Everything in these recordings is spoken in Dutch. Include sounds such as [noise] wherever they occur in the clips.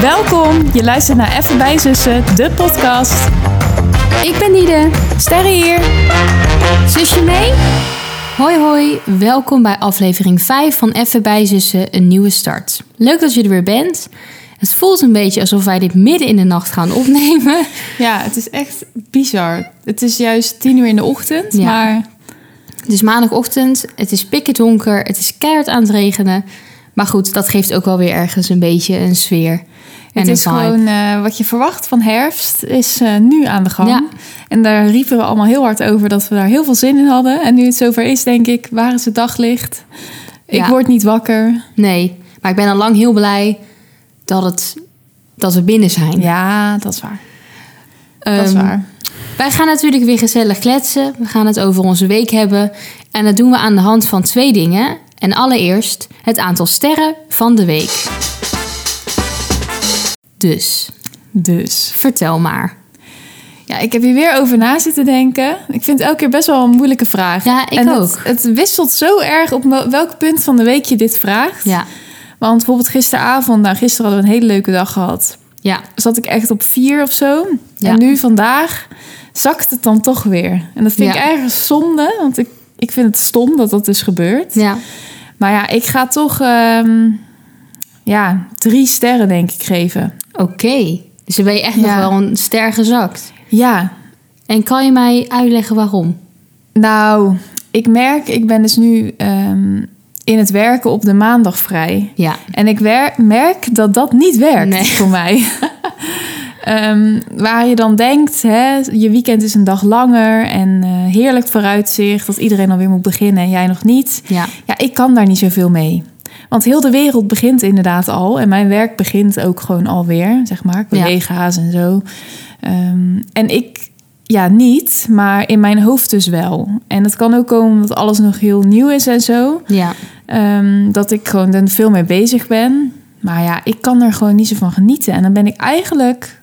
Welkom, je luistert naar Even bij Zussen, de podcast. Ik ben Nide. Sterre hier. Zusje mee? Hoi hoi, welkom bij aflevering 5 van Even bij Zussen, een nieuwe start. Leuk dat je er weer bent. Het voelt een beetje alsof wij dit midden in de nacht gaan opnemen. Ja, het is echt bizar. Het is juist tien uur in de ochtend, Ja. maar Het is maandagochtend, het is pikken donker, het is keihard aan het regenen. Maar goed, dat geeft ook wel weer ergens een beetje een sfeer en het een is vibe. gewoon eh, wat je verwacht van herfst is eh, nu aan de gang. Ja. En daar riepen we allemaal heel hard over dat we daar heel veel zin in hadden. En nu het zover is, denk ik, waar is het daglicht? Ik Ja. word niet wakker. Nee, maar ik ben al lang heel blij dat, het, dat we binnen zijn. Ja, dat is waar. dat is Ehm, waar. Wij gaan natuurlijk weer gezellig kletsen. We gaan het over onze week hebben. En dat doen we aan de hand van twee dingen. En allereerst het aantal sterren van de week. Dus, Dus. vertel maar. Ja, ik heb hier weer over na zitten denken. Ik vind het elke keer best wel een moeilijke vraag. Ja, ik en het- ook. Het, wisselt zo erg op wel- welk punt van de week je dit vraagt. Ja, Want bijvoorbeeld gisteravond, nou gisteren hadden we een hele leuke dag gehad. ja, Zat ik echt op vier of zo. Ja. En nu vandaag zakt het dan toch weer. En dat vind Ja. ik ergens zonde, want ik, ik vind het stom dat dat dus gebeurt. ja. Maar ja, ik ga toch ehm, ja, drie sterren denk ik geven. Oké. Dus dan ben je echt Ja. nog wel een ster gezakt. Ja, En kan je mij uitleggen waarom? Nou, ik merk, ik ben dus nu ehm, in het werken op de maandag vrij. Ja, En ik wer- merk dat dat niet werkt Nee. voor mij. Ehm, waar je dan denkt, hè, je weekend is een dag langer en eh, heerlijk vooruitzicht dat iedereen alweer moet beginnen en jij nog niet. ja, Ja, ik kan daar niet zoveel mee. Want heel de wereld begint inderdaad al. En mijn werk begint ook gewoon alweer, zeg maar. Collega's en zo. Ehm, en ik, ja, niet. Maar in mijn hoofd dus wel. En dat kan ook komen omdat alles nog heel nieuw is en zo. ja. Ehm, dat ik gewoon er veel mee bezig ben. Maar ja, ik kan er gewoon niet zo van genieten. En dan ben ik eigenlijk...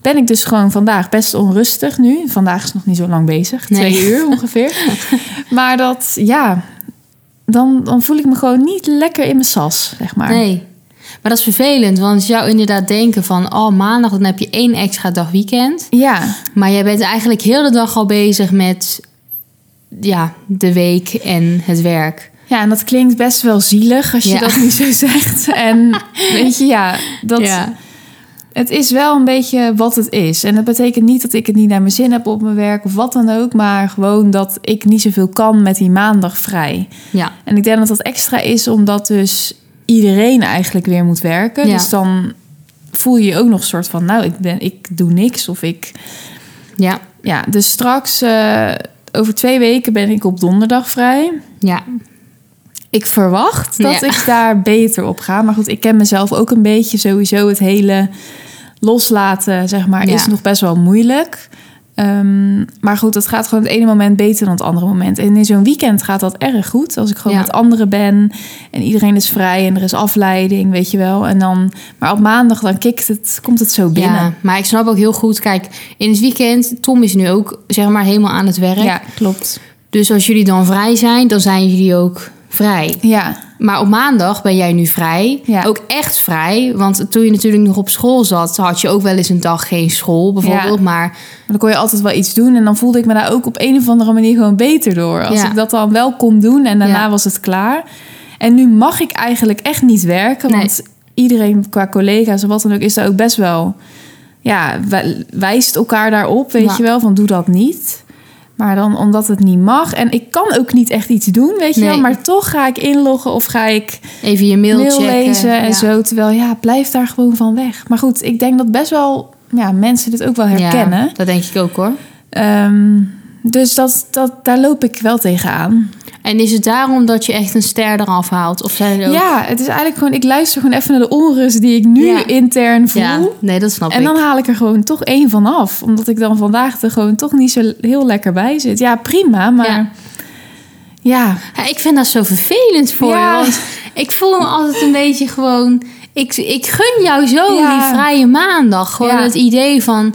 Ben ik dus gewoon vandaag best onrustig nu. Vandaag is nog niet zo lang bezig. Nee. Twee [laughs] uur ongeveer. maar dat, ja... Dan, dan voel ik me gewoon niet lekker in mijn sas, zeg maar. Nee. Maar dat is vervelend, want je zou inderdaad denken van... oh, maandag dan heb je één extra dag weekend. Ja, Maar jij bent eigenlijk heel de dag al bezig met ja, de week en het werk. Ja, en dat klinkt best wel zielig als je Ja. dat nu zo [laughs] zegt. En weet je, ja, dat, het is wel een beetje wat het is. En dat betekent niet dat ik het niet naar mijn zin heb op mijn werk of wat dan ook. Maar gewoon dat ik niet zoveel kan met die maandag vrij. ja, En ik denk dat dat extra is omdat dus iedereen eigenlijk weer moet werken. Ja. Dus dan voel je je ook nog een soort van, nou, ik, ben, ik doe niks of ik... ja, Ja, dus straks, eh, over twee weken ben ik op donderdag vrij. ja, Ik verwacht dat Ja. ik daar beter op ga. Maar goed, ik ken mezelf ook een beetje. Sowieso het hele loslaten, zeg maar, Ja. is nog best wel moeilijk. Ehm, maar goed, dat gaat gewoon het ene moment beter dan het andere moment. En in zo'n weekend gaat dat erg goed. Als ik gewoon Ja. met anderen ben en iedereen is vrij en er is afleiding, weet je wel. En dan, maar op maandag dan kikt het, komt het zo binnen. ja. Maar ik snap ook heel goed, kijk, in het weekend, Tom is nu ook zeg maar helemaal aan het werk. Ja, klopt. Dus als jullie dan vrij zijn, dan zijn jullie ook vrij. Ja, Maar op maandag ben jij nu vrij. Ja. Ook echt vrij. Want toen je natuurlijk nog op school zat, had je ook wel eens een dag geen school bijvoorbeeld. Ja. Maar Maar dan kon je altijd wel iets doen. En dan voelde ik me daar ook op een of andere manier gewoon beter door. Als Ja. ik dat dan wel kon doen en daarna Ja. was het klaar. En nu mag ik eigenlijk echt niet werken. Nee. Want iedereen qua collega's en wat dan ook is daar ook best wel... Ja, wij- wijst elkaar daarop, weet Ja. je wel. Van doe dat niet. Maar dan omdat het niet mag. En ik kan ook niet echt iets doen, weet je Nee. wel. Maar toch ga ik inloggen of ga ik even je mail, mail checken. lezen en Ja. zo. Terwijl ja, blijf daar gewoon van weg. Maar goed, ik denk dat best wel ja, mensen dit ook wel herkennen. Ja, dat denk ik ook hoor. Ehm, dus dat, dat, daar loop ik wel tegenaan. En is het daarom dat je echt een ster eraf haalt? Of zijn er ook... Ja, het is eigenlijk gewoon... Ik luister gewoon even naar de onrust die ik nu Ja. intern voel. Ja, nee, dat snap en ik. dan haal ik er gewoon toch één van af. Omdat ik dan vandaag er gewoon toch niet zo heel lekker bij zit. Ja, prima, maar... Ja, Ja. Ja, ik vind dat zo vervelend voor Ja. je. Want ik voel me altijd een beetje gewoon... Ik, ik gun jou zo Ja. die vrije maandag. Gewoon Ja. het idee van...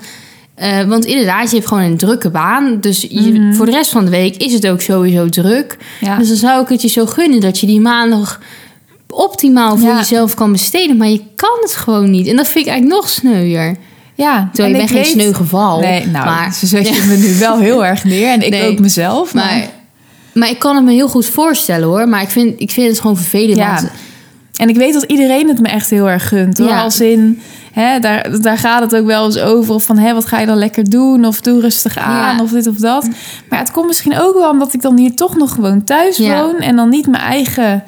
eh, want inderdaad, je hebt gewoon een drukke baan. Dus je- voor de rest van de week is het ook sowieso druk. Mhm. ja. Dus dan zou ik het je zo gunnen dat je die maandag optimaal voor Ja. jezelf kan besteden. Maar je kan het gewoon niet. En dat vind ik eigenlijk nog sneuier. Ja, Terwijl je en bent ik geen weet- sneu geval. Nee, nou, [laughs] maar, ze [laughs] zet je me nu wel heel erg neer. En ik Nee. ook mezelf. Maar, maar, maar ik kan het me heel goed voorstellen hoor. Maar ik vind, ik vind het gewoon vervelend. Ja. want- En ik weet dat iedereen het me echt heel erg gunt. Hoor. Ja. Als in, hè, daar, daar gaat het ook wel eens over. Of van, hè, wat ga je dan lekker doen? Of doe rustig aan, Ja. of dit of dat. Maar het komt misschien ook wel omdat ik dan hier toch nog gewoon thuis Ja. woon. En dan niet mijn eigen...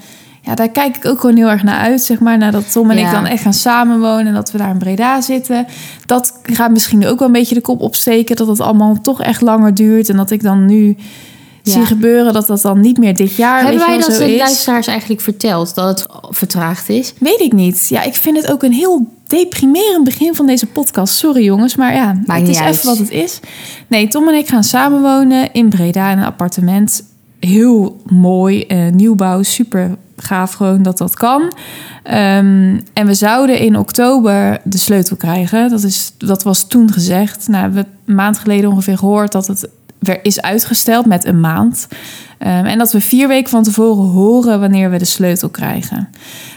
Ja, daar kijk ik ook gewoon heel erg naar uit, zeg maar. Nadat Tom en Ja. ik dan echt gaan samenwonen en dat we daar in Breda zitten. Dat gaat misschien ook wel een beetje de kop opsteken. Dat het allemaal toch echt langer duurt. En dat ik dan nu Ja. zie gebeuren dat dat dan niet meer dit jaar Hebben weet je wij wel, dat zo de is. luisteraars eigenlijk verteld? Dat het vertraagd is? Weet ik niet. Ja, ik vind het ook een heel deprimerend begin van deze podcast. Sorry jongens, maar ja, het niet is uit. even wat het is. Nee, Tom en ik gaan samenwonen in Breda in een appartement. Heel mooi, eh, nieuwbouw, super gaaf gewoon dat dat kan. Ehm, en we zouden in oktober de sleutel krijgen. Dat, is, dat was toen gezegd. Nou, we hebben een maand geleden ongeveer gehoord dat het weer is uitgesteld met een maand. Ehm, en dat we vier weken van tevoren horen wanneer we de sleutel krijgen.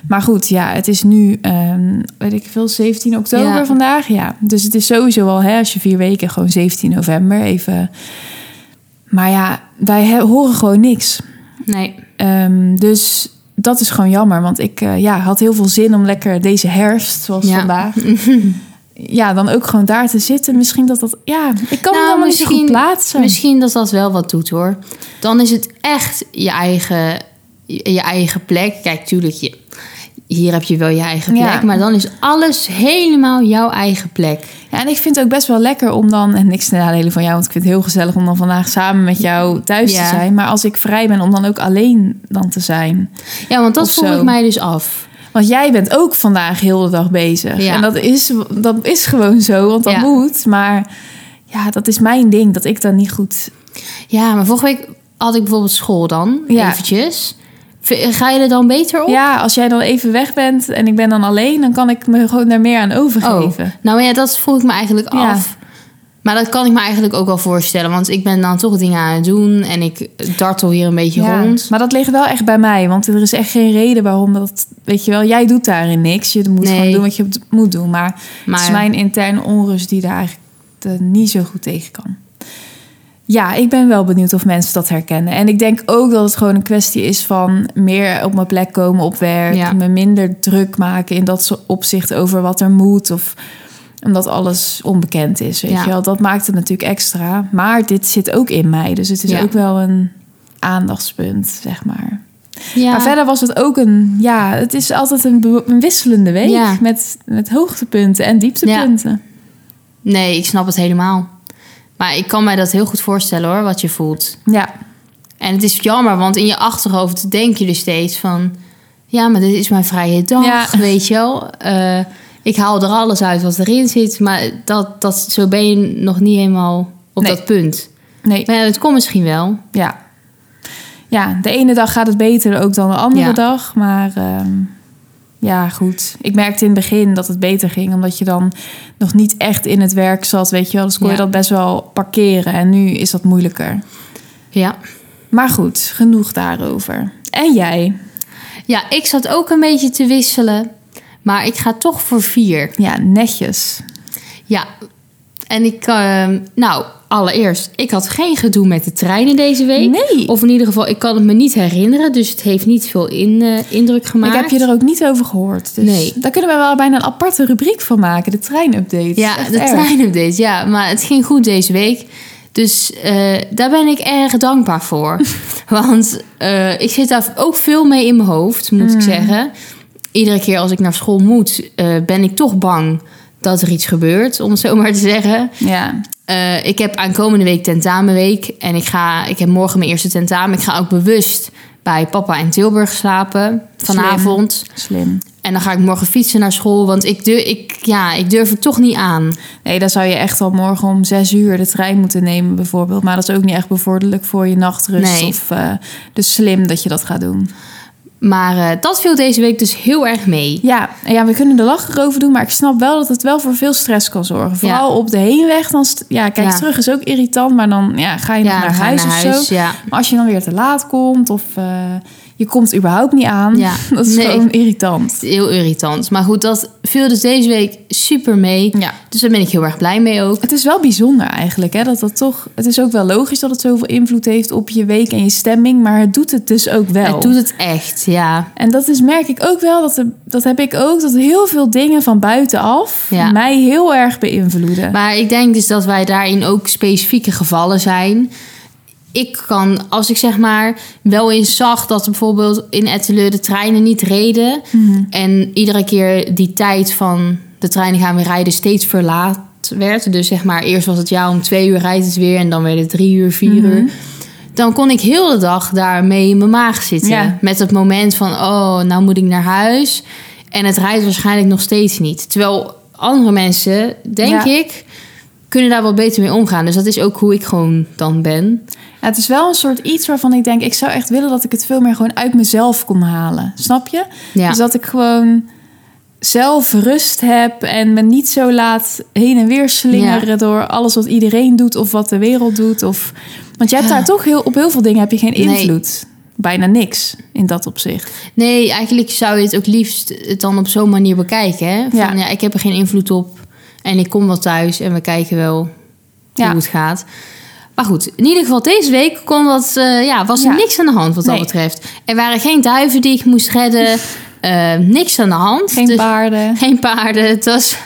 Maar goed, ja, het is nu, ehm, weet ik veel, 17 oktober Ja. vandaag. Ja. Dus het is sowieso al, hè, als je vier weken, gewoon 17 november even. Maar ja, wij he- horen gewoon niks. Nee. Ehm, dus dat is gewoon jammer, want ik eh, ja, had heel veel zin om lekker deze herfst, zoals Ja. [laughs] vandaag. Ja, dan ook gewoon daar te zitten. Misschien dat dat... Ja, ik kan Nou, me dan niet zo goed misschien- plaatsen. Misschien dat dat wel wat doet hoor. Dan is het echt je eigen, je, je eigen plek. Kijk, tuurlijk, je, hier heb je wel je eigen plek. Ja. Maar dan is alles helemaal jouw eigen plek. Ja, en ik vind het ook best wel lekker om dan, en niks ten nadele van jou, want ik vind het heel gezellig om dan vandaag samen met jou thuis Ja. te zijn. Maar als ik vrij ben, om dan ook alleen dan te zijn. Ja, want dat Of vroeg zo. ik mij dus af. Want jij bent ook vandaag heel de dag bezig. Ja. En dat is, dat is gewoon zo, want dat Ja. moet. Maar ja, dat is mijn ding, dat ik dan niet goed... Ja, maar vorige week had ik bijvoorbeeld school dan, Ja. eventjes. V- Ga je er dan beter op? Ja, als jij dan even weg bent en ik ben dan alleen, dan kan ik me gewoon daar meer aan Oh, overgeven. nou ja, dat vroeg ik me eigenlijk Ja. af. Maar dat kan ik me eigenlijk ook wel voorstellen. Want ik ben dan toch dingen aan het doen. En ik dartel hier een beetje Ja, rond. maar dat ligt wel echt bij mij, want er is echt geen reden waarom dat, weet je wel, jij doet daarin niks. Je moet Nee. gewoon doen wat je moet doen, maar Maar, Het is mijn interne onrust die daar eigenlijk eh, niet zo goed tegen kan. Ja, ik ben wel benieuwd of mensen dat herkennen. En ik denk ook dat het gewoon een kwestie is van meer op mijn plek komen op werk. Ja. Me minder druk maken in dat zo- opzicht over wat er moet. Of omdat alles onbekend is. Weet Ja. je wel. Dat maakt het natuurlijk extra. Maar dit zit ook in mij. Dus het is Ja. ook wel een aandachtspunt, zeg maar. ja. Maar verder was het ook een... Ja, het is altijd een, be- een wisselende week. Ja. Met, met hoogtepunten en dieptepunten. Nee, ik snap het helemaal. Maar ik kan mij dat heel goed voorstellen hoor, wat je voelt. Ja, En het is jammer, want in je achterhoofd denk je dus steeds van... Ja, maar dit is mijn vrije dag, Ja. [laughs] weet je wel. Eh, ik haal er alles uit wat erin zit. Maar dat, dat, zo ben je nog niet helemaal op Nee. dat punt. nee, Maar ja, dat komt misschien wel. ja. Ja, de ene dag gaat het beter ook dan de andere Ja. dag. Maar ehm, ja, goed. Ik merkte in het begin dat het beter ging. Omdat je dan nog niet echt in het werk zat, weet je wel. Dus kon je Ja. dat best wel parkeren. En nu is dat moeilijker. Ja. Maar goed, genoeg daarover. En jij? ja, ik zat ook een beetje te wisselen. Maar ik ga toch voor vier. Ja, netjes. Ja, en ik, ehm, nou, allereerst, ik had geen gedoe met de treinen deze week. Nee. Of in ieder geval, ik kan het me niet herinneren, dus het heeft niet veel in, eh, indruk gemaakt. Ik heb je er ook niet over gehoord. Dus Nee. daar kunnen we wel bijna een aparte rubriek van maken. De treinupdate. Ja, Echt de erg. treinupdate, ja, maar het ging goed deze week. Dus eh, daar ben ik erg dankbaar [laughs] voor. Want eh, ik zit daar ook veel mee in mijn hoofd, moet Hmm. ik zeggen. Iedere keer als ik naar school moet, eh, ben ik toch bang dat er iets gebeurt, om het zo maar te zeggen. Ja, Eh, ik heb aankomende week tentamenweek. En ik, ga, ik heb morgen mijn eerste tentamen. Ik ga ook bewust bij papa in Tilburg slapen. Vanavond. slim. En dan ga ik morgen fietsen naar school. Want ik, durf, ik, ja, ik durf het toch niet aan. Nee, dan zou je echt al morgen om zes uur de trein moeten nemen bijvoorbeeld. Maar dat is ook niet echt bevorderlijk voor je nachtrust. Nee. Of, eh, dus slim dat je dat gaat doen. Maar eh, dat viel deze week dus heel erg mee. Ja, en ja, we kunnen er lachen over doen. Maar ik snap wel dat het wel voor veel stress kan zorgen. Vooral op de heenweg. Dan st- ja, kijk, Ja. terug is ook irritant. Maar dan ja, ga je nog dan naar ga ik huis of zo. Ja. Maar als je dan weer te laat komt of eh, je komt überhaupt niet aan. Ja, [laughs] Dat is nee. gewoon irritant. Heel irritant. Maar goed, dat viel dus deze week super mee. Ja. Dus daar ben ik heel erg blij mee ook. Het is wel bijzonder eigenlijk, hè, dat dat toch... Het is ook wel logisch dat het zoveel invloed heeft op je week en je stemming, maar het doet het dus ook wel. Het doet het echt, ja. En dat is, merk ik ook wel, dat, er- dat heb ik ook, dat heel veel dingen van buitenaf Ja. mij heel erg beïnvloeden. Maar ik denk dus dat wij daarin ook specifieke gevallen zijn. Ik kan, als ik zeg maar wel eens zag dat er bijvoorbeeld in Etteleur de treinen niet reden. En iedere keer die tijd van de treinen gaan weer rijden steeds verlaat werd. Dus zeg maar, eerst was het ja, om twee uur rijdt het weer. En dan werd het drie uur, vier uur. Dan kon ik heel de dag daarmee in mijn maag zitten. Ja. Met dat moment van, oh, nou moet ik naar huis. En het rijdt waarschijnlijk nog steeds niet. Terwijl andere mensen, denk Ja. ik, kunnen daar wat beter mee omgaan. Dus dat is ook hoe ik gewoon dan ben. Ja, het is wel een soort iets waarvan ik denk, ik zou echt willen dat ik het veel meer gewoon uit mezelf kon halen. Snap je? Ja. Dus dat ik gewoon zelf rust heb en me niet zo laat heen en weer slingeren door alles wat iedereen doet of wat de wereld doet. Of... Want je hebt daar toch heel, op heel veel dingen heb je geen Nee. invloed. Bijna niks in dat opzicht. Nee, eigenlijk zou je het ook liefst het dan op zo'n manier bekijken. Hè? Van, ja. Ja. ik heb er geen invloed op. En ik kom wel thuis en we kijken wel Ja. hoe het gaat. Maar goed, in ieder geval deze week kon dat, eh, ja, was er Ja. niks aan de hand wat dat Nee. betreft. Er waren geen duiven die ik moest [laughs] redden. eh, niks aan de hand. Geen Dus- paarden. Geen paarden. Het was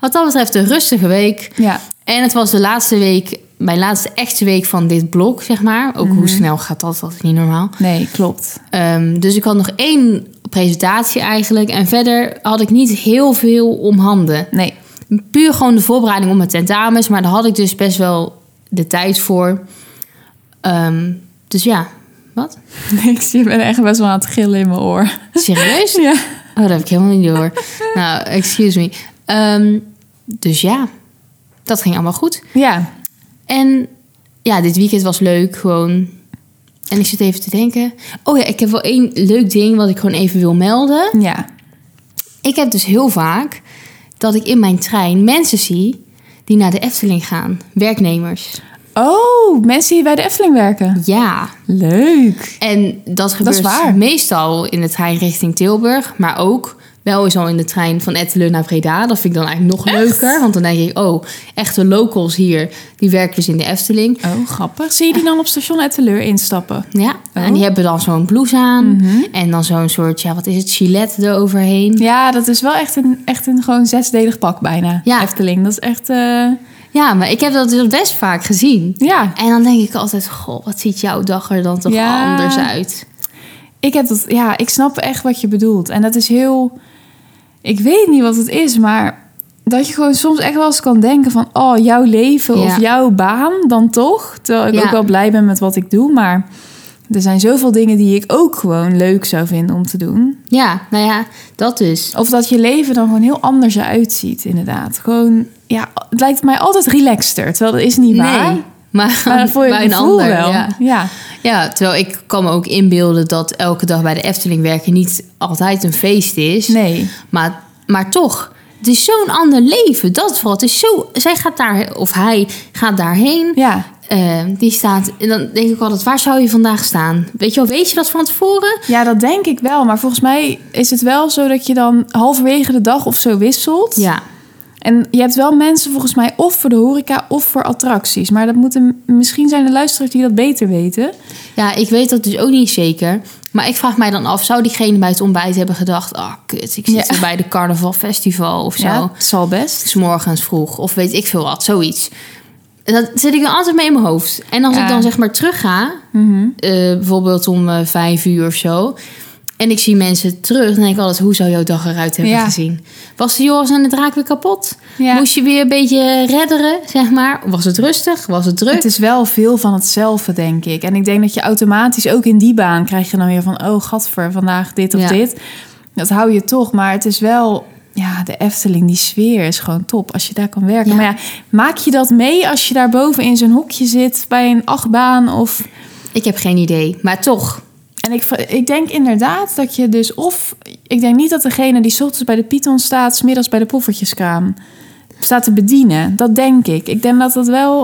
wat dat betreft een rustige week. Ja. En het was de laatste week, mijn laatste echte week van dit blok, zeg maar. Ook hoe snel gaat dat, dat is niet normaal. Nee, klopt. Ehm, dus ik had nog één presentatie eigenlijk. En verder had ik niet heel veel om handen. Nee. [laughs] Puur gewoon de voorbereiding op mijn tentamens. Maar daar had ik dus best wel de tijd voor. Ehm, dus ja, wat? Niks. Je bent echt best wel aan het gillen in mijn oor. [laughs] Serieus? Ja. Oh, dat heb ik helemaal niet door. nou, excuse me. Ehm, dus ja, dat ging allemaal goed. Ja. En ja, dit weekend was leuk gewoon. En ik zit even te denken. Oh ja, ik heb wel één leuk ding wat ik gewoon even wil melden. Ja. Ik heb dus heel vaak dat ik in mijn trein mensen zie die naar de Efteling gaan. Werknemers. Oh, mensen die bij de Efteling werken. Ja. Leuk. En dat gebeurt waar. meestal in de trein richting Tilburg. Maar ook wel eens al in de trein van Ettelen naar Breda. Dat vind ik dan eigenlijk nog leuker. Want dan denk ik, oh, echte locals hier, die werken dus in de Efteling. Oh, grappig. Zie je die dan op station Etteleur instappen? Ja, Oh. en die hebben dan zo'n blouse aan. En dan zo'n soort, ja, wat is het, gilet eroverheen. Mhm. Ja, dat is wel echt een, echt een gewoon zesdelig pak bijna. Ja. Efteling, dat is echt... eh, Ja, maar ik heb dat dus best vaak gezien. ja, En dan denk ik altijd, goh, wat ziet jouw dag er dan toch Ja. anders uit? ik, heb dat, ja, ik snap echt wat je bedoelt. En dat is heel... Ik weet niet wat het is, maar dat je gewoon soms echt wel eens kan denken van... oh, jouw leven Ja. of jouw baan dan toch. Terwijl ik Ja. ook wel blij ben met wat ik doe, maar... Er zijn zoveel dingen die ik ook gewoon leuk zou vinden om te doen. Ja, nou ja, dat dus. Of dat je leven dan gewoon heel anders eruit ziet, inderdaad. Gewoon, ja, het lijkt mij altijd relaxter. Terwijl dat is niet waar. [laughs] Nee, maar, Maar dan voel je bij het een gevoel ander. wel. Ja. ja. ja, terwijl ik kan me ook inbeelden dat elke dag bij de Efteling werken niet altijd een feest is. Nee. Maar, maar toch, het is zo'n ander leven. Dat valt. Het is zo, zij gaat daar, of hij gaat daarheen. Ja. Eh, die staat, en dan denk ik altijd, waar zou je vandaag staan? Weet je wel, weet je dat van tevoren? ja, dat denk ik wel. Maar volgens mij is het wel zo dat je dan halverwege de dag of zo wisselt. Ja, En je hebt wel mensen volgens mij of voor de horeca of voor attracties. Maar dat moeten, misschien zijn er luisteraars die dat beter weten. Ja, ik weet dat dus ook niet zeker. Maar ik vraag mij dan af, zou diegene bij het ontbijt hebben gedacht... ah, kut, ik zit Ja. hier bij de carnavalfestival of zo. Ja, zal best. S morgens vroeg of weet ik veel wat, zoiets. En Dat zit ik dan altijd mee in mijn hoofd. En als Ja. Mhm. ik dan zeg maar terug ga, eh, bijvoorbeeld om eh, vijf uur of zo... en ik zie mensen terug, dan denk ik altijd... hoe zou jouw dag eruit hebben Ja. gezien? Was de Joris en de draak weer kapot? Ja. Moest je weer een beetje redderen, zeg maar? Was het rustig? Was het druk? Het is wel veel van hetzelfde, denk ik. En ik denk dat je automatisch ook in die baan krijg je dan weer van... oh, gadver, vandaag dit of Ja. dit. Dat hou je toch, maar het is wel... Ja, de Efteling, die sfeer is gewoon top als je daar kan werken. Ja. Maar ja, maak je dat mee als je daar boven in zo'n hokje zit... bij een achtbaan of... Ik heb geen idee, maar toch... En ik, ik denk inderdaad dat je dus of... Ik denk niet dat degene die 's ochtends bij de Python staat... 's middags bij de poffertjeskraam staat te bedienen. Dat denk ik. Ik denk dat dat wel...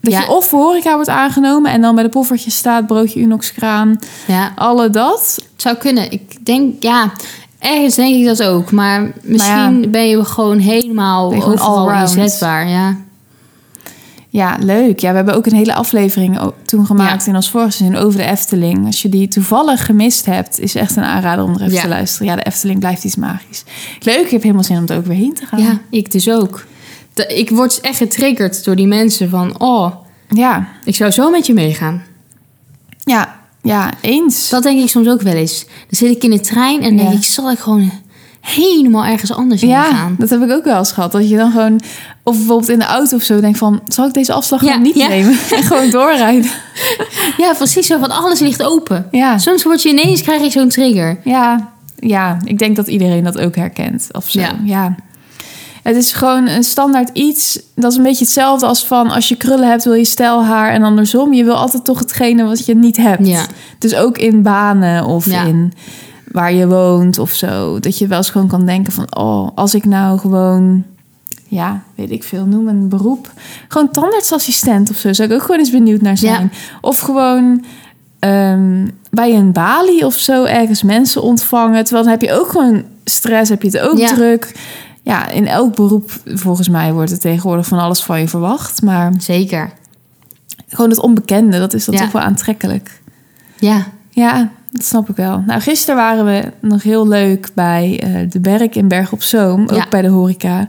Dat Ja. je of voor horeca wordt aangenomen en dan bij de poffertje staat broodje Unox kraan, Ja, alle dat. het zou kunnen. Ik denk, ja, ergens denk ik dat ook. Maar misschien Maar ben je gewoon helemaal Nou Ben je gewoon overal allround. inzetbaar. Ja. Ja, leuk. Ja, we hebben ook een hele aflevering o- toen gemaakt in ons vorige zin over de Efteling. Als je die toevallig gemist hebt, is echt een aanrader om er even Ja. te luisteren. Ja, de Efteling blijft iets magisch. Leuk, ik heb helemaal zin om er ook weer heen te gaan. ja, ik dus ook. Da- Ik word echt getriggerd door die mensen van, oh, ja, ik zou zo met je meegaan. ja, ja eens. Dat denk ik soms ook wel eens. Dan zit ik in de trein en denk Ja. ik, zal ik gewoon helemaal ergens anders heen Ja, gaan? dat heb ik ook wel eens gehad. Dat je dan gewoon, of bijvoorbeeld in de auto of zo, denkt van... zal ik deze afslag Ja, gewoon niet ja. [laughs] nemen en gewoon doorrijden? Ja, precies zo, want alles ligt open. Ja. Soms word je ineens, krijg je zo'n trigger. ja, ja, ik denk dat iedereen dat ook herkent of zo. Ja. Ja. Het is gewoon een standaard iets. Dat is een beetje hetzelfde als van als je krullen hebt, wil je stijlhaar en andersom. Je wil altijd toch hetgene wat je niet hebt. Ja. Dus ook in banen of Ja. in waar je woont of zo. Dat je wel eens gewoon kan denken van, oh, als ik nou gewoon, ja, weet ik veel, noem een beroep. Gewoon tandartsassistent of zo, zou ik ook gewoon eens benieuwd naar zijn. Ja. Of gewoon ehm, bij een balie of zo ergens mensen ontvangen. Terwijl dan heb je ook gewoon stress, heb je het ook Ja. druk. Ja, in elk beroep volgens mij wordt er tegenwoordig van alles van je verwacht. Maar Zeker. gewoon het onbekende, dat is dan Ja. toch wel aantrekkelijk. Ja. Ja, dat snap ik wel. Nou, gisteren waren we nog heel leuk bij eh, de Berk in Berg op Zoom. Ook Ja. bij de horeca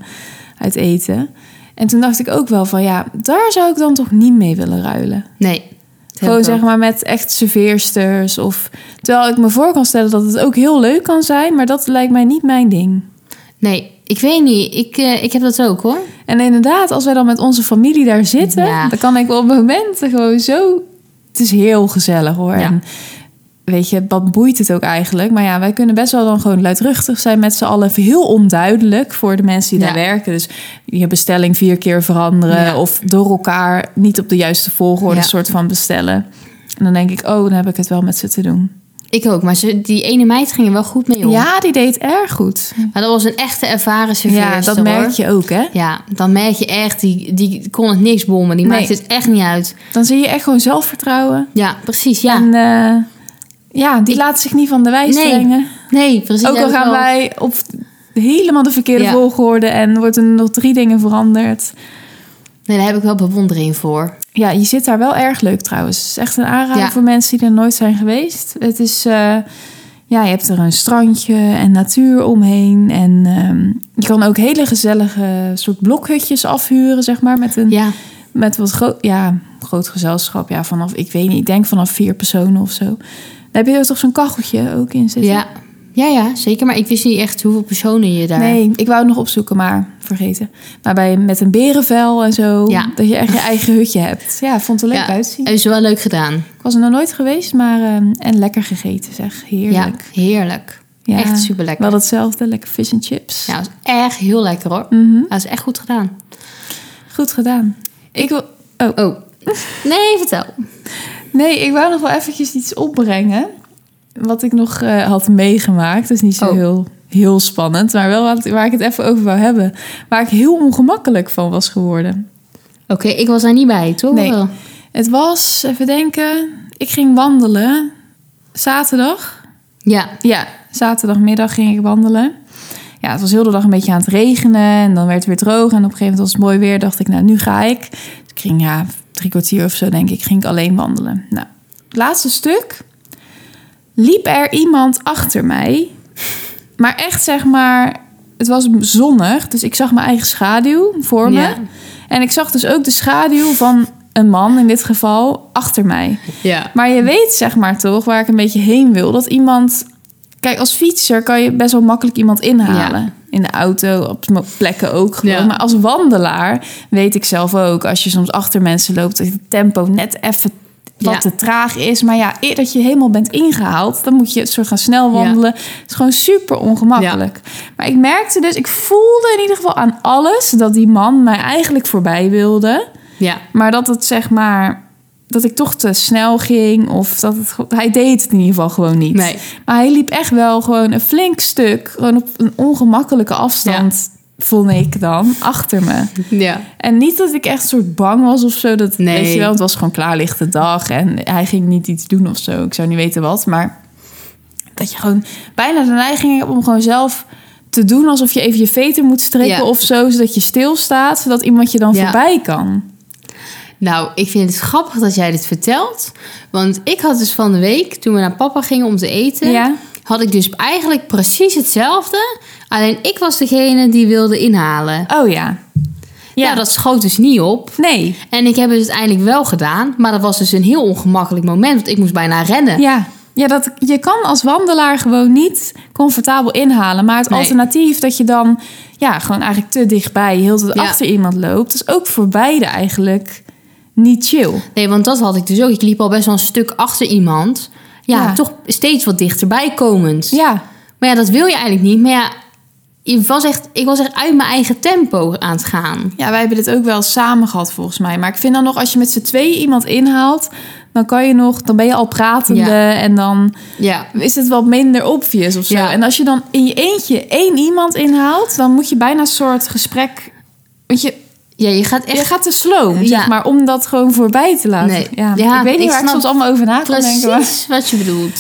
uit eten. En toen dacht ik ook wel van ja, daar zou ik dan toch niet mee willen ruilen. Nee. Dat heb ik Gewoon ook. zeg maar met echt serveersters. Of, terwijl ik me voor kan stellen dat het ook heel leuk kan zijn. Maar dat lijkt mij niet mijn ding. Nee, ik weet niet. Ik, eh, ik heb dat ook hoor. En inderdaad, als wij dan met onze familie daar zitten, Ja. dan kan ik wel op momenten gewoon zo. Het is heel gezellig hoor. Ja. En weet je, wat boeit het ook eigenlijk? Maar ja, wij kunnen best wel dan gewoon luidruchtig zijn met z'n allen. Heel onduidelijk voor de mensen die daar Ja. werken. Dus je bestelling vier keer veranderen Ja. of door elkaar niet op de juiste volgorde Ja. soort van bestellen. En dan denk ik, oh, dan heb ik het wel met ze te doen. Ik ook, maar ze, die ene meid ging er wel goed mee om. Ja, die deed erg goed. Maar dat was een echte ervaren Ja, serveerster dat merk hoor. je ook, hè? Ja, dan merk je echt, die, die kon het niks bommen. Die Nee. maakt het echt niet uit. Dan zie je echt gewoon zelfvertrouwen. Ja, precies, ja. En eh, ja, die laat zich niet van de wijs Nee, brengen. Nee, precies. Ook heb al ik gaan wel. wij op helemaal de verkeerde Ja. volgorde en wordt er nog drie dingen veranderd. Nee, daar heb ik wel bewondering voor. Ja, je zit daar wel erg leuk trouwens. Het is echt een aanrader Ja. voor mensen die er nooit zijn geweest. Het is, eh, ja, je hebt er een strandje en natuur omheen. En ehm, je kan ook hele gezellige soort blokhutjes afhuren, zeg maar, met een Ja, met wat groot, ja, groot gezelschap. Ja, vanaf, ik weet niet, ik denk vanaf vier personen of zo. Dan heb je er toch zo'n kacheltje ook in zitten? ja. ja, ja, zeker. Maar ik wist niet echt hoeveel personen je daar... Nee, ik wou het nog opzoeken, maar vergeten. Maar bij, met een berenvel en zo, Ja. dat je echt je eigen hutje hebt. Ja, vond het leuk Ja, uitzien. Hebben ze wel leuk gedaan. Ik was er nog nooit geweest, maar ehm, en lekker gegeten zeg. Heerlijk. Ja, heerlijk. Ja, Echt superlekker. Wel hetzelfde, lekker fish and chips. Ja, dat was echt heel lekker hoor. Mhm. Dat is echt goed gedaan. Goed gedaan. Ik wil, Oh. [laughs] Nee, vertel. nee, ik wou nog wel eventjes iets opbrengen. Wat ik nog eh, had meegemaakt. Dat is niet zo Oh. heel, heel spannend, maar wel wat- waar ik het even over wou hebben. Waar ik heel ongemakkelijk van was geworden. Oké, ik was daar niet bij, toch? Nee. Wel? Het was, even denken, ik ging wandelen. Zaterdag? Ja. Ja, zaterdagmiddag ging ik wandelen. Ja, het was heel de dag een beetje aan het regenen en dan werd het weer droog. En op een gegeven moment was het mooi weer, dacht ik, nou, nu ga ik. Dus ik ging, ja, drie kwartier of zo, denk ik, ging ik alleen wandelen. Nou, het laatste stuk liep er iemand achter mij. Maar echt, zeg maar, het was zonnig, dus ik zag mijn eigen schaduw voor me. Ja. En ik zag dus ook de schaduw van een man, in dit geval, achter mij. Ja. Maar je weet zeg maar toch waar ik een beetje heen wil. Dat iemand. Kijk, als fietser kan je best wel makkelijk iemand inhalen. In de auto, op mo- plekken ook gewoon. Ja. Maar als wandelaar weet ik zelf ook. Als je soms achter mensen loopt, dat het tempo net even wat Ja. te traag is. Maar ja, eer dat je helemaal bent ingehaald, dan moet je het soort gaan snel wandelen. Het is gewoon super ongemakkelijk. Maar ik merkte dus, ik voelde in ieder geval aan alles dat die man mij eigenlijk voorbij wilde. Ja. Maar dat het zeg maar. Dat ik toch te snel ging. Of dat het. ge- Hij deed het in ieder geval gewoon niet. Nee. Maar hij liep echt wel gewoon een flink stuk. Gewoon op een ongemakkelijke afstand. vond ik dan, achter me. Ja. En niet dat ik echt soort bang was of zo. Dat, Nee. Weet je wel, het was gewoon klaarlichte dag en hij ging niet iets doen of zo. Ik zou niet weten wat, maar dat je gewoon bijna de neiging hebt om gewoon zelf te doen alsof je even je veter moet strekken Ja. of zo, zodat je stilstaat, zodat iemand je dan Ja. voorbij kan. Nou, ik vind het grappig dat jij dit vertelt. Want ik had dus van de week, toen we naar papa gingen om te eten... Ja. had ik dus eigenlijk precies hetzelfde. Alleen ik was degene die wilde inhalen. Oh ja. Ja, dat schoot dus niet op. Nee. En ik heb het uiteindelijk wel gedaan. Maar dat was dus een heel ongemakkelijk moment. Want ik moest bijna rennen. Ja. Ja, dat, je kan als wandelaar gewoon niet comfortabel inhalen. Maar het Nee. alternatief dat je dan ja, gewoon eigenlijk te dichtbij heel de tijd Ja. achter iemand loopt, is ook voor beide eigenlijk niet chill. Nee, want dat had ik dus ook. Ik liep al best wel een stuk achter iemand. Ja, Ja. toch steeds wat dichterbij komend. Ja, Maar ja, dat wil je eigenlijk niet. Maar ja, je was echt, ik was echt uit mijn eigen tempo aan het gaan. ja wij hebben dit ook wel samen gehad volgens mij. Maar ik vind dan nog, als je met z'n tweeën iemand inhaalt, dan kan je nog, dan ben je al pratende Ja. en dan Ja. is het wat minder obvious of zo. Ja. En als je dan in je eentje één iemand inhaalt, dan moet je bijna een soort gesprek. Want je, Ja, je gaat echt je gaat te slow, Ja. zeg maar, om dat gewoon voorbij te laten. Nee. Ja. Ja, ik weet niet ik waar ik snap soms allemaal over na kan denken. maar- precies wat je bedoelt.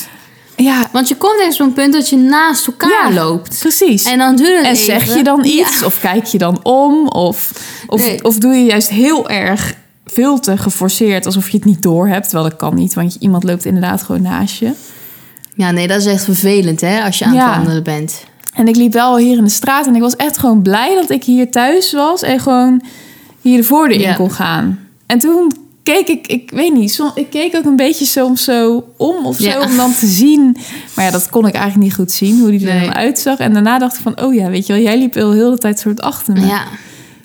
Ja, Want je komt echt op zo'n punt dat je naast elkaar Ja. loopt. precies. En dan duurt het En even. zeg je dan Ja. iets? Of kijk je dan om? Of, of, Nee. of doe je juist heel erg veel te geforceerd alsof je het niet door hebt? Terwijl dat kan niet, want je- iemand loopt inderdaad gewoon naast je. Ja, nee, dat is echt vervelend hè, als je aan Ja. het wandelen bent. En ik liep wel hier in de straat en ik was echt gewoon blij dat ik hier thuis was en gewoon hier de voordeur Ja. in kon gaan. En toen keek ik, ik weet niet, som- ik keek ook een beetje soms zo om of zo Ja. om dan te zien. Maar ja, dat kon ik eigenlijk niet goed zien, hoe die er Nee. dan uitzag. En daarna dacht ik van, oh ja, weet je wel, jij liep heel, heel de tijd soort achter me. Ja.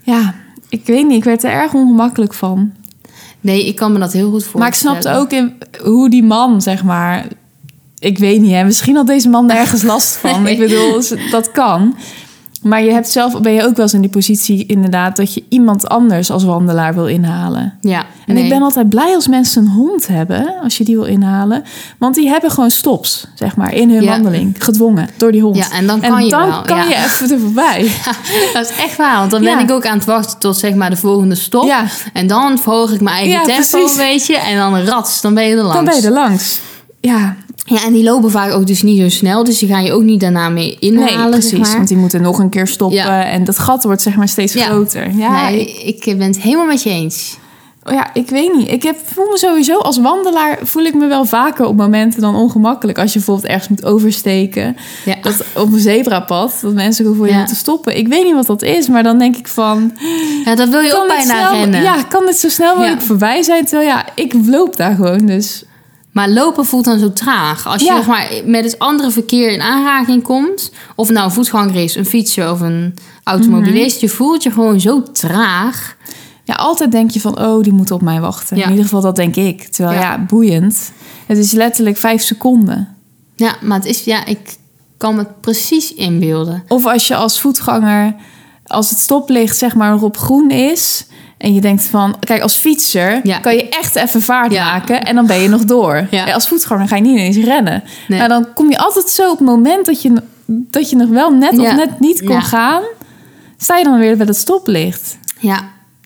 Ja, ik weet niet. Ik werd er erg ongemakkelijk van. Nee, ik kan me dat heel goed voorstellen. Maar ik snapte ook in hoe die man, zeg maar... Ik weet niet, hè. Misschien had deze man ergens last van. Ik [laughs] bedoel, z- dat kan. Maar je hebt zelf, ben je ook wel eens in die positie inderdaad... dat je iemand anders als wandelaar wil inhalen. Ja. En nee. ik [laughs] ben altijd blij als mensen een hond hebben... als je die wil inhalen. Want die hebben gewoon stops, zeg maar, in hun Ja. wandeling. Gedwongen door die hond. Ja, en dan kan je wel, kan ja. je even er [laughs] voorbij. Dat is echt waar, want dan Ja. ben ik ook aan het wachten tot zeg maar de volgende stop. Ja. En dan verhoog ik mijn eigen Ja, tempo precies. een beetje. En dan rats, dan ben je er langs. Dan ben je er langs. Ja, Ja, en die lopen vaak ook dus niet zo snel. Dus die ga je ook niet daarna mee inhalen, Nee, precies. zeg maar. Want die moeten nog een keer stoppen. Ja. En dat gat wordt zeg maar steeds Ja. groter. Ja, nee, ik, ik ben het helemaal met je eens. oh ja, ik weet niet. Ik heb, voel me sowieso als wandelaar... voel ik me wel vaker op momenten dan ongemakkelijk. Als je bijvoorbeeld ergens moet oversteken. Ja. Dat, op een zebrapad. Dat mensen ook voor je Ja. moeten stoppen. Ik weet niet wat dat is. Maar dan denk ik van... Ja, dat wil je ook Kan dit, bijna snel, rennen. ja, kan dit zo snel mogelijk Ja. voorbij zijn? Terwijl ja, ik loop daar gewoon. Dus Maar lopen voelt dan zo traag. Als je Ja. zeg maar, met het andere verkeer in aanraking komt... of het nou een voetganger is, een fietser of een automobilist... Mhm. je voelt je gewoon zo traag. Ja, altijd denk je van, oh, die moet op mij wachten. Ja. In ieder geval, dat denk ik. Terwijl, Ja. ja, boeiend. Het is letterlijk vijf seconden. Ja, maar het is, ja, ik kan me het precies inbeelden. Of als je als voetganger, als het stoplicht zeg maar nog op groen is... en je denkt van, kijk, als fietser Ja. kan je echt even vaart Ja. maken... en dan ben je nog door. [laughs] Ja. En Als voetganger ga je niet ineens rennen. Nee. Maar dan kom je altijd zo op het moment dat je, dat je nog wel net of Ja. net niet kon Ja. gaan... sta je dan weer bij dat stoplicht. Ja,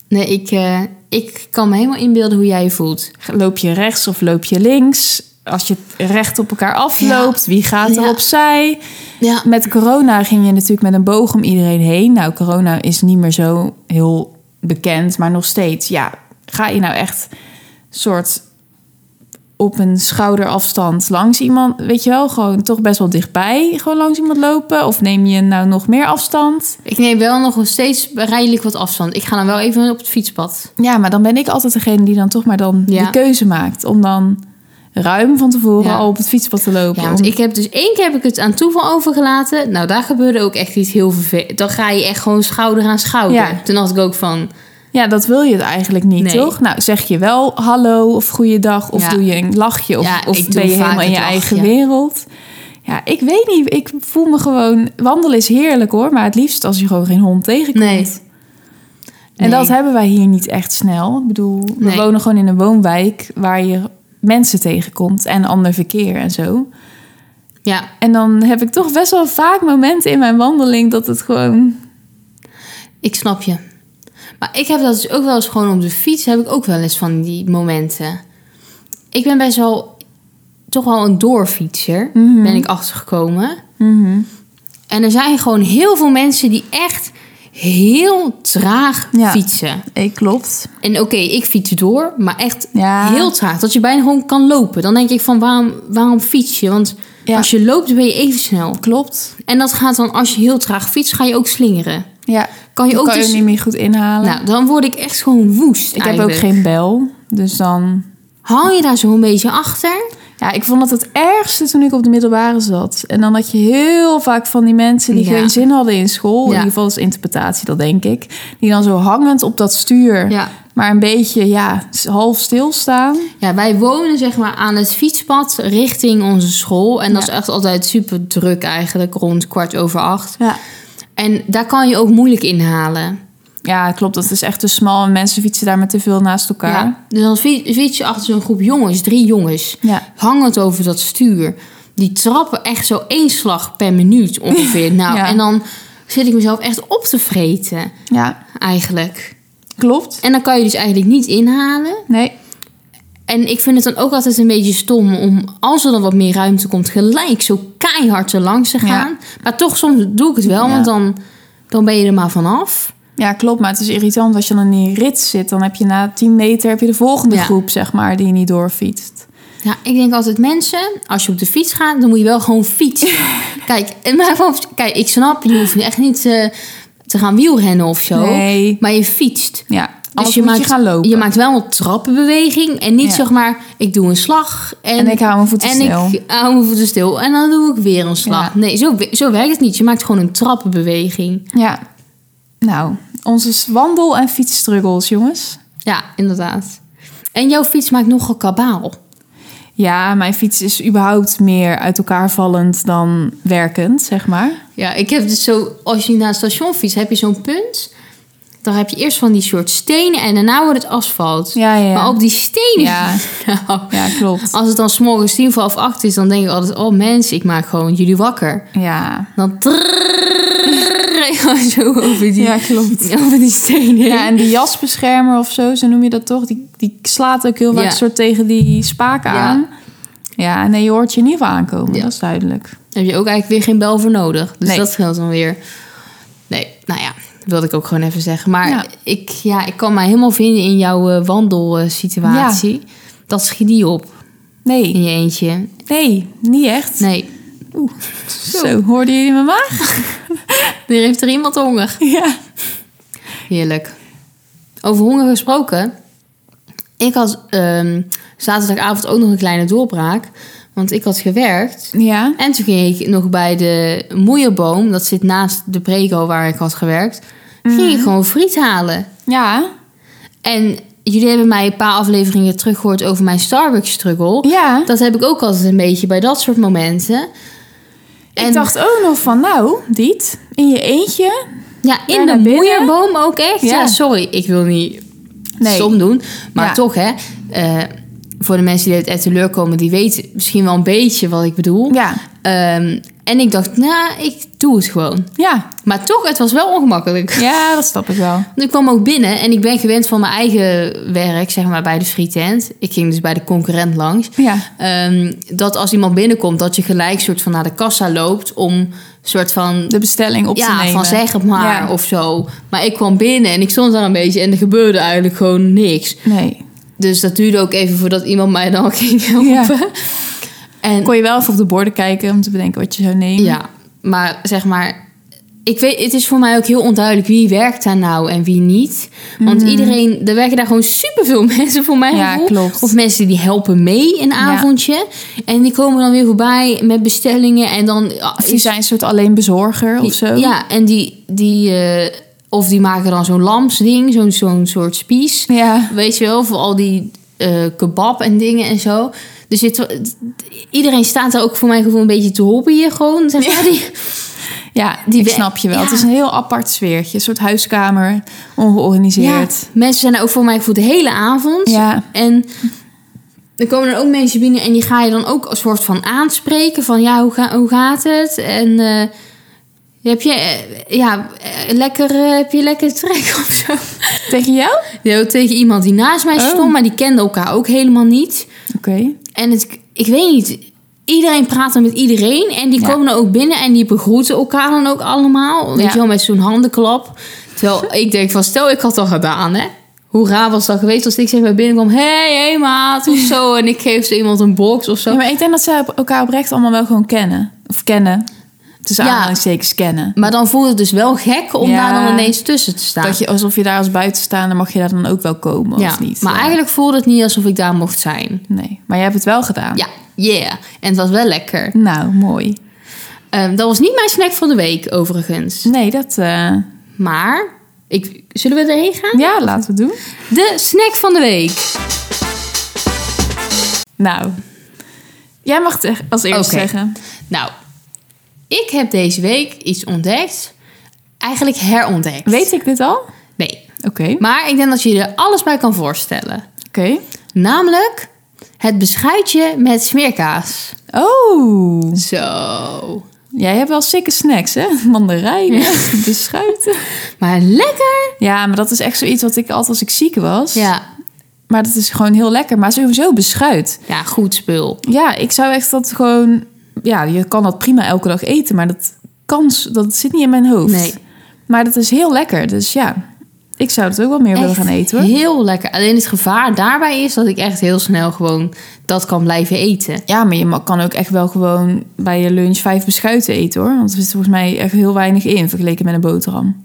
nee, ik, eh, ik kan me helemaal inbeelden hoe jij je voelt. Loop je rechts of loop je links? Als je recht op elkaar afloopt, wie gaat er Ja. opzij? Ja, Nou, Met corona ging je natuurlijk met een boog om iedereen heen. Nou, corona is niet meer zo heel bekend, maar nog steeds. Ja, ga je nou echt soort op een schouderafstand langs iemand, weet je wel, gewoon toch best wel dichtbij, gewoon langs iemand lopen? Of neem je nou nog meer afstand? ik neem wel nog steeds redelijk wat afstand. Ik ga dan wel even op het fietspad. Ja, maar dan ben ik altijd degene die dan toch maar dan Ja. die keuze maakt om dan ruim van tevoren Ja. al op het fietspad te lopen. Ja, want Om- ik heb dus één keer heb ik het aan toeval overgelaten. Nou, daar gebeurde ook echt iets heel vervelends. Dan ga je echt gewoon schouder aan schouder. Ja. Toen dacht ik ook van, Ja, dat wil je het eigenlijk niet, Nee. toch? Nou, zeg je wel hallo of goeiedag of Ja. doe je een lachje of, Ja, ik of doe ben je vaak helemaal in het je lachje. eigen wereld? Ja, ik weet niet. Ik voel me gewoon... Wandelen is heerlijk hoor, maar het liefst als je gewoon geen hond tegenkomt. nee. En Nee. dat hebben wij hier niet echt snel. Ik bedoel, we Nee. wonen gewoon in een woonwijk waar je mensen tegenkomt en ander verkeer en zo. Ja, En dan heb ik toch best wel vaak momenten in mijn wandeling dat het gewoon Ik snap je. Maar ik heb dat dus ook wel eens gewoon op de fiets. Heb ik ook wel eens van die momenten. Ik ben best wel toch wel een doorfietser. Mhm. Ben ik achtergekomen. En er zijn gewoon heel veel mensen die echt heel traag Ja. fietsen. Ik klopt. En oké, ik fiets door, maar echt Ja. heel traag. Dat je bijna gewoon kan lopen. Dan denk ik van waarom, waarom fiets je? Want Ja. als je loopt ben je even snel. Klopt. En dat gaat dan, als je heel traag fietst, ga je ook slingeren. Ja. Kan je Dan ook kan dus- je niet meer goed inhalen. Nou, dan word ik echt gewoon woest. ik heb eigenlijk. ook geen bel. Dus dan... Hou je daar zo'n beetje achter? Ja, ik vond dat het ergste toen ik op de middelbare zat. En dan had je heel vaak van die mensen die Ja. geen zin hadden in school. In Ja. ieder geval is interpretatie, dat denk ik. Die dan zo hangend op dat stuur, Ja. maar een beetje ja, half stilstaan. Ja, wij wonen zeg maar aan het fietspad richting onze school. En dat is echt altijd super druk eigenlijk, rond kwart over acht. Ja. En daar kan je ook moeilijk inhalen. ja, klopt. Dat is echt te smal en mensen fietsen daar met te veel naast elkaar. Ja. Dus dan fie- fiets je achter zo'n groep jongens, drie jongens, Ja. hangend over dat stuur. Die trappen echt zo één slag per [laughs] minuut ongeveer. Nou, Ja. en dan zit ik mezelf echt op te vreten ja. eigenlijk. klopt. En dan kan je dus eigenlijk niet inhalen. Nee, En ik vind het dan ook altijd een beetje stom om, als er dan wat meer ruimte komt, gelijk zo keihard er langs te gaan. Maar toch, soms doe ik het wel, Ja. want dan, dan ben je er maar vanaf. Ja, klopt. Maar het is irritant als je dan in die rit zit. Dan heb je na 10 meter heb je de volgende Ja. groep, zeg maar, die je niet doorfietst. Ja, ik denk altijd mensen, als je op de fiets gaat, dan moet je wel gewoon fietsen. [laughs] kijk, en maar van- kijk, ik snap, je hoeft echt niet eh, te gaan wielrennen of zo. Nee. Maar je fietst. Dus Ja, anders je moet maakt, je gaan lopen. Je maakt wel een trappenbeweging en niet Ja. zeg maar, ik doe een slag. En, En ik hou mijn voeten en stil. ik hou mijn voeten stil en dan doe ik weer een slag. Ja. Nee, zo, we- zo werkt het niet. Je maakt gewoon een trappenbeweging. Ja. Nou, onze wandel- en fietsstruggles, jongens. Ja, inderdaad. En jouw fiets maakt nogal kabaal. Ja, mijn fiets is überhaupt meer uit elkaar vallend dan werkend, zeg maar. Ja, ik heb dus zo, als je naar het station fietst, heb je zo'n punt. Dan heb je eerst van die soort stenen en daarna wordt het asfalt. Ja, ja, ja. Maar op die stenen. Ja. Nou, Ja, klopt. als het dan s'morgens tien voor half acht is, dan denk ik altijd: oh mensen, ik maak gewoon jullie wakker. Ja. Dan trrrr, zo over die, Ja, klopt. over die stenen. heen. Ja, en die jasbeschermer of zo, zo noem je dat toch? Die, die slaat ook heel vaak Ja. soort tegen die spaken Ja. aan. Ja, nee, je hoort je in ieder geval aankomen. Ja. Dat is duidelijk. heb je ook eigenlijk weer geen bel voor nodig. Dus Nee. dat scheelt dan weer. Nee, nou ja, dat wilde ik ook gewoon even zeggen. Maar Ja. Ik, ja, ik kan mij helemaal vinden in jouw eh, wandelsituatie. Dat schiet niet op Nee, in je eentje. nee, niet echt. Nee, Oeh, zo, hoorde jullie mijn maag? [laughs] er heeft er iemand honger. Ja. Heerlijk. Over honger gesproken. Ik had ehm, zaterdagavond ook nog een kleine doorbraak. Want ik had gewerkt. Ja? En toen ging ik nog bij de moeierboom. Dat zit naast de prego waar ik had gewerkt. Ging ik gewoon friet halen. Ja. En jullie hebben mij een paar afleveringen teruggehoord over mijn Starbucks-struggle. Ja. Dat heb ik ook altijd een beetje bij dat soort momenten. En Ik dacht ook nog van, nou, Diet, in je eentje. ja, in daar naar de binnen. moeierboom ook echt. Ja. Ja. sorry, ik wil niet Nee. stom doen. Maar Ja. toch, hè. eh, voor de mensen die uit teleur komen, die weten misschien wel een beetje wat ik bedoel. Ja. Ehm, en ik dacht, nou, ik doe het gewoon. Ja. Maar toch, het was wel ongemakkelijk. [laughs] Ja, dat snap ik wel. Want Ik kwam ook binnen en ik ben gewend van mijn eigen werk, zeg maar, bij de frietent. Ik ging dus bij de concurrent langs. Ja. Ehm, dat als iemand binnenkomt, dat je gelijk soort van naar de kassa loopt om soort van... De bestelling op te ja, nemen. van zeg het maar Ja. of zo. Maar ik kwam binnen en ik stond daar een beetje en er gebeurde eigenlijk gewoon niks. Nee. Dus dat duurde ook even voordat iemand mij dan [laughs] ging helpen. [laughs] [laughs] Ja. En Kon je wel even op de borden kijken om te bedenken wat je zou nemen. ja, maar zeg maar... Ik weet, het is voor mij ook heel onduidelijk wie werkt daar nou en wie niet. Want iedereen, er werken daar gewoon superveel [laughs] mensen voor mij. Mhm. Ja, klopt. Of mensen die helpen mee een avondje. En die komen dan weer voorbij met bestellingen. En dan ah, Of die zijn een soort alleen bezorger of zo. Ja, en die, die eh, of die maken dan zo'n lamsding, zo'n zo'n soort spies. Ja. Weet je wel, voor al die eh, kebab en dingen en zo. Dus het- iedereen staat daar ook voor mijn gevoel een beetje te hobbyen gewoon. Zeg maar. Die, Ja, Die die we- snap je wel. ja. Het is een heel apart sfeertje. Een soort huiskamer, ongeorganiseerd. Ja, mensen zijn daar ook voor mij voor de hele avond. Ja. En er komen dan ook mensen binnen en die ga je dan ook als soort van aanspreken. Van ja, hoe, ga, hoe gaat het? En eh, Heb je, eh, ja, eh, lekker, eh, heb je lekker trek of zo? Tegen jou? Nee, tegen iemand die naast mij Oh. stond, maar die kende elkaar ook helemaal niet. Oké. En het, ik weet niet, iedereen praat dan met iedereen. En die Ja. komen dan ook binnen en die begroeten elkaar dan ook allemaal. Weet Ja. je wel, met zo'n handenklap. Terwijl ik denk van, stel ik had dat gedaan, hè. Hoe raar was dat geweest als ik zeg maar binnenkwam... hey, hey [laughs] maat, of zo. En ik geef zo iemand een box of zo. Ja, maar ik denk dat ze elkaar oprecht allemaal wel gewoon kennen. Of kennen. Tussen Ja. aanhalingstekens kennen. Maar dan voelt het dus wel gek om Ja. daar dan ineens tussen te staan. Dat je, alsof je daar als buitenstaander mag je daar dan ook wel komen ja, of niet. maar Ja. eigenlijk voelde het niet alsof ik daar mocht zijn. Nee, maar jij hebt het wel gedaan. Ja, yeah. En het was wel lekker. Nou, mooi. Ehm, dat was niet mijn snack van de week, overigens. Nee, dat... Oh, eh, Maar, ik, zullen we erheen gaan? ja, laten we het doen. De snack van de week. Nou. Jij mag het echt als eerste Oké. zeggen. Nou, ik heb deze week iets ontdekt. Eigenlijk herontdekt. Weet ik dit al? Oké. Nee. Oké. Maar ik denk dat je er alles bij kan voorstellen. Namelijk het beschuitje met smeerkaas. Oh. Zo. Jij hebt wel sikke snacks, hè? [laughs] Mandarijnen, [laughs] beschuiten. Maar lekker. Ja, maar dat is echt zoiets wat ik altijd als ik ziek was. Ja. Maar dat is gewoon heel lekker. Maar sowieso beschuit. Ja, goed spul. Ja, ik zou echt dat gewoon... Ja, je kan dat prima elke dag eten, maar dat kans, dat zit niet in mijn hoofd. Nee. Maar dat is heel lekker. Dus ja, ik zou het ook wel meer willen Echt gaan eten, hoor. Heel lekker. Alleen het gevaar daarbij is dat ik echt heel snel gewoon dat kan blijven eten. Ja, maar je ma- kan ook echt wel gewoon bij je lunch vijf beschuiten eten, hoor. Want er zit volgens mij echt heel weinig in vergeleken met een boterham.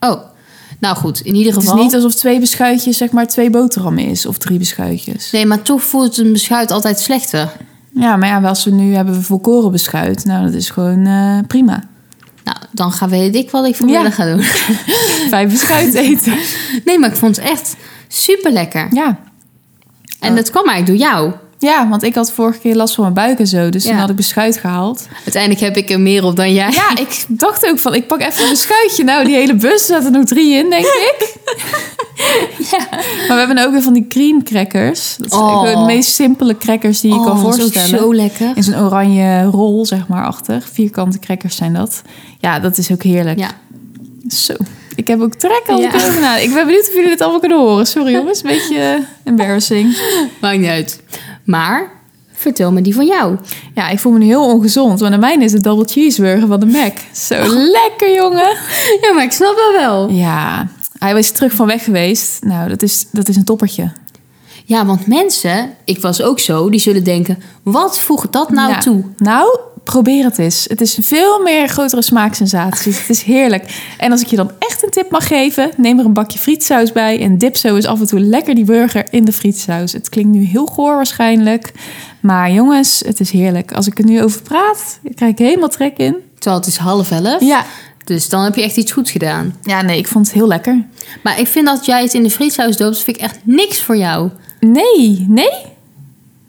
Oh, nou goed. In ieder Het is geval. niet alsof twee beschuitjes zeg maar twee boterhammen is. Of drie beschuitjes. Nee, maar toch voelt een beschuit altijd slechter. Ja, maar ja, als we nu hebben we volkoren beschuit. Nou, dat is gewoon eh, prima. Nou, dan gaan weet ik wat ik vanmiddag Ja. ga doen. [laughs] Vijf beschuit eten. Nee, maar ik vond het echt super lekker. ja. En dat kwam eigenlijk door jou. ja, want ik had vorige keer last van mijn buik en zo. Dus Ja. toen had ik beschuit gehaald. Uiteindelijk heb ik er meer op dan jij. Ja, ik dacht ook van, ik pak even een beschuitje. Nou, die hele bus zat er nog drie in, denk [laughs] ik. Maar we hebben ook weer van die cream crackers. Dat zijn Oh. gewoon de meest simpele crackers [laughs] die je kan voorstellen. Dat Oh, is ook zo lekker. In zo'n oranje rol, zeg maar, achter. Vierkante crackers zijn dat. Ja, dat is ook heerlijk. Ja. Zo. Ik heb ook trek al Ja. over na. Ik ben benieuwd of jullie dit allemaal kunnen horen. Sorry jongens, een beetje eh, embarrassing. Maakt niet uit. Maar vertel me die van jou. Ja, ik voel me nu heel ongezond. Want aan mijn is het double cheeseburger van de Mac. Zo Oh. lekker jongen. Ja, maar ik snap dat wel. Ja, hij was terug van weg geweest. Nou, dat is, dat is een toppertje. Ja, want mensen, ik was ook zo, die zullen denken: wat voegt dat nou Ja. toe? Nou, probeer het eens. Het is een veel meer grotere smaaksensatie. het is heerlijk. En als ik je dan echt een tip mag geven, neem er een bakje frietsaus bij. En dip zo eens af en toe lekker die burger in de frietsaus. Het klinkt nu heel goor waarschijnlijk. Maar jongens, het is heerlijk. Als ik er nu over praat, krijg ik helemaal trek in. Terwijl het is half elf. Ja. Dus dan heb je echt iets goeds gedaan. Ja, nee, ik vond het heel lekker. Maar ik vind dat jij het in de frietsaus doopt, vind ik echt niks voor jou. Nee, nee?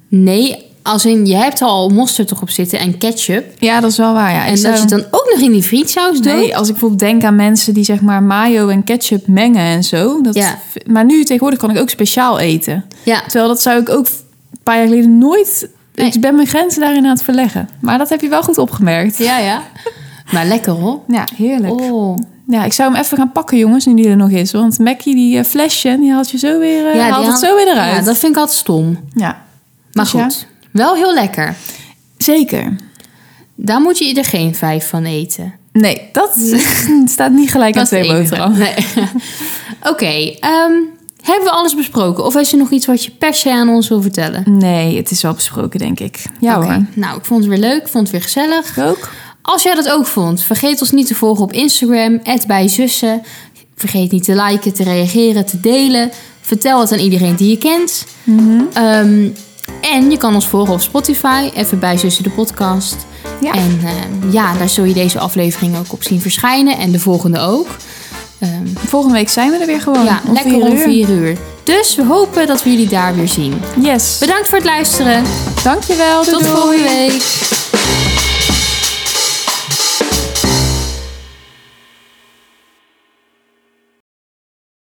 Nee, als in, je hebt er al mosterd erop zitten en ketchup. Ja, dat is wel waar. Ja. Ik En dat zou- je het dan ook nog in die frietsaus doet. Nee, als ik bijvoorbeeld denk aan mensen die zeg maar mayo en ketchup mengen en zo. Dat, Ja. Maar nu tegenwoordig kan ik ook speciaal eten. Ja, Terwijl dat zou ik ook een paar jaar geleden nooit... Nee. Ik ben mijn grenzen daarin aan het verleggen. Maar dat heb je wel goed opgemerkt. ja, ja. [laughs] Maar lekker hoor. Ja, heerlijk. Oh. Ja, ik zou hem even gaan pakken, jongens, nu die er nog is. Want Mackie, die eh, flesje, die haalt je zo weer, eh, haalt het haal- zo weer eruit. Ja, dat vind ik altijd stom. Ja. Maar Dus ja, goed, wel heel lekker. zeker. Daar moet je er geen vijf van eten. Nee, dat [laughs] staat niet gelijk aan is twee het enige. boterham. Nee. [laughs] Oké, ehm, hebben we alles besproken? Of is er nog iets wat je per se aan ons wil vertellen? Nee, het is wel besproken, denk ik. Ja Oké, Nou, ik vond het weer leuk, ik vond het weer gezellig. hoor. Ook? Als jij dat ook vond, vergeet ons niet te volgen op Instagram, @bijzussen. Vergeet niet te liken, te reageren, te delen. Vertel het aan iedereen die je kent. Mhm. Ehm, en je kan ons volgen op Spotify, even bij Zussen de podcast. Ja. En ehm, ja, daar zul je deze aflevering ook op zien verschijnen en de volgende ook. Ehm, Volgende week zijn we er weer gewoon. ja, Oh, om lekker vier om uur. 4 uur. Dus we hopen dat we jullie daar weer zien. Yes. Bedankt voor het luisteren. Dankjewel. Doei Tot doei. volgende week.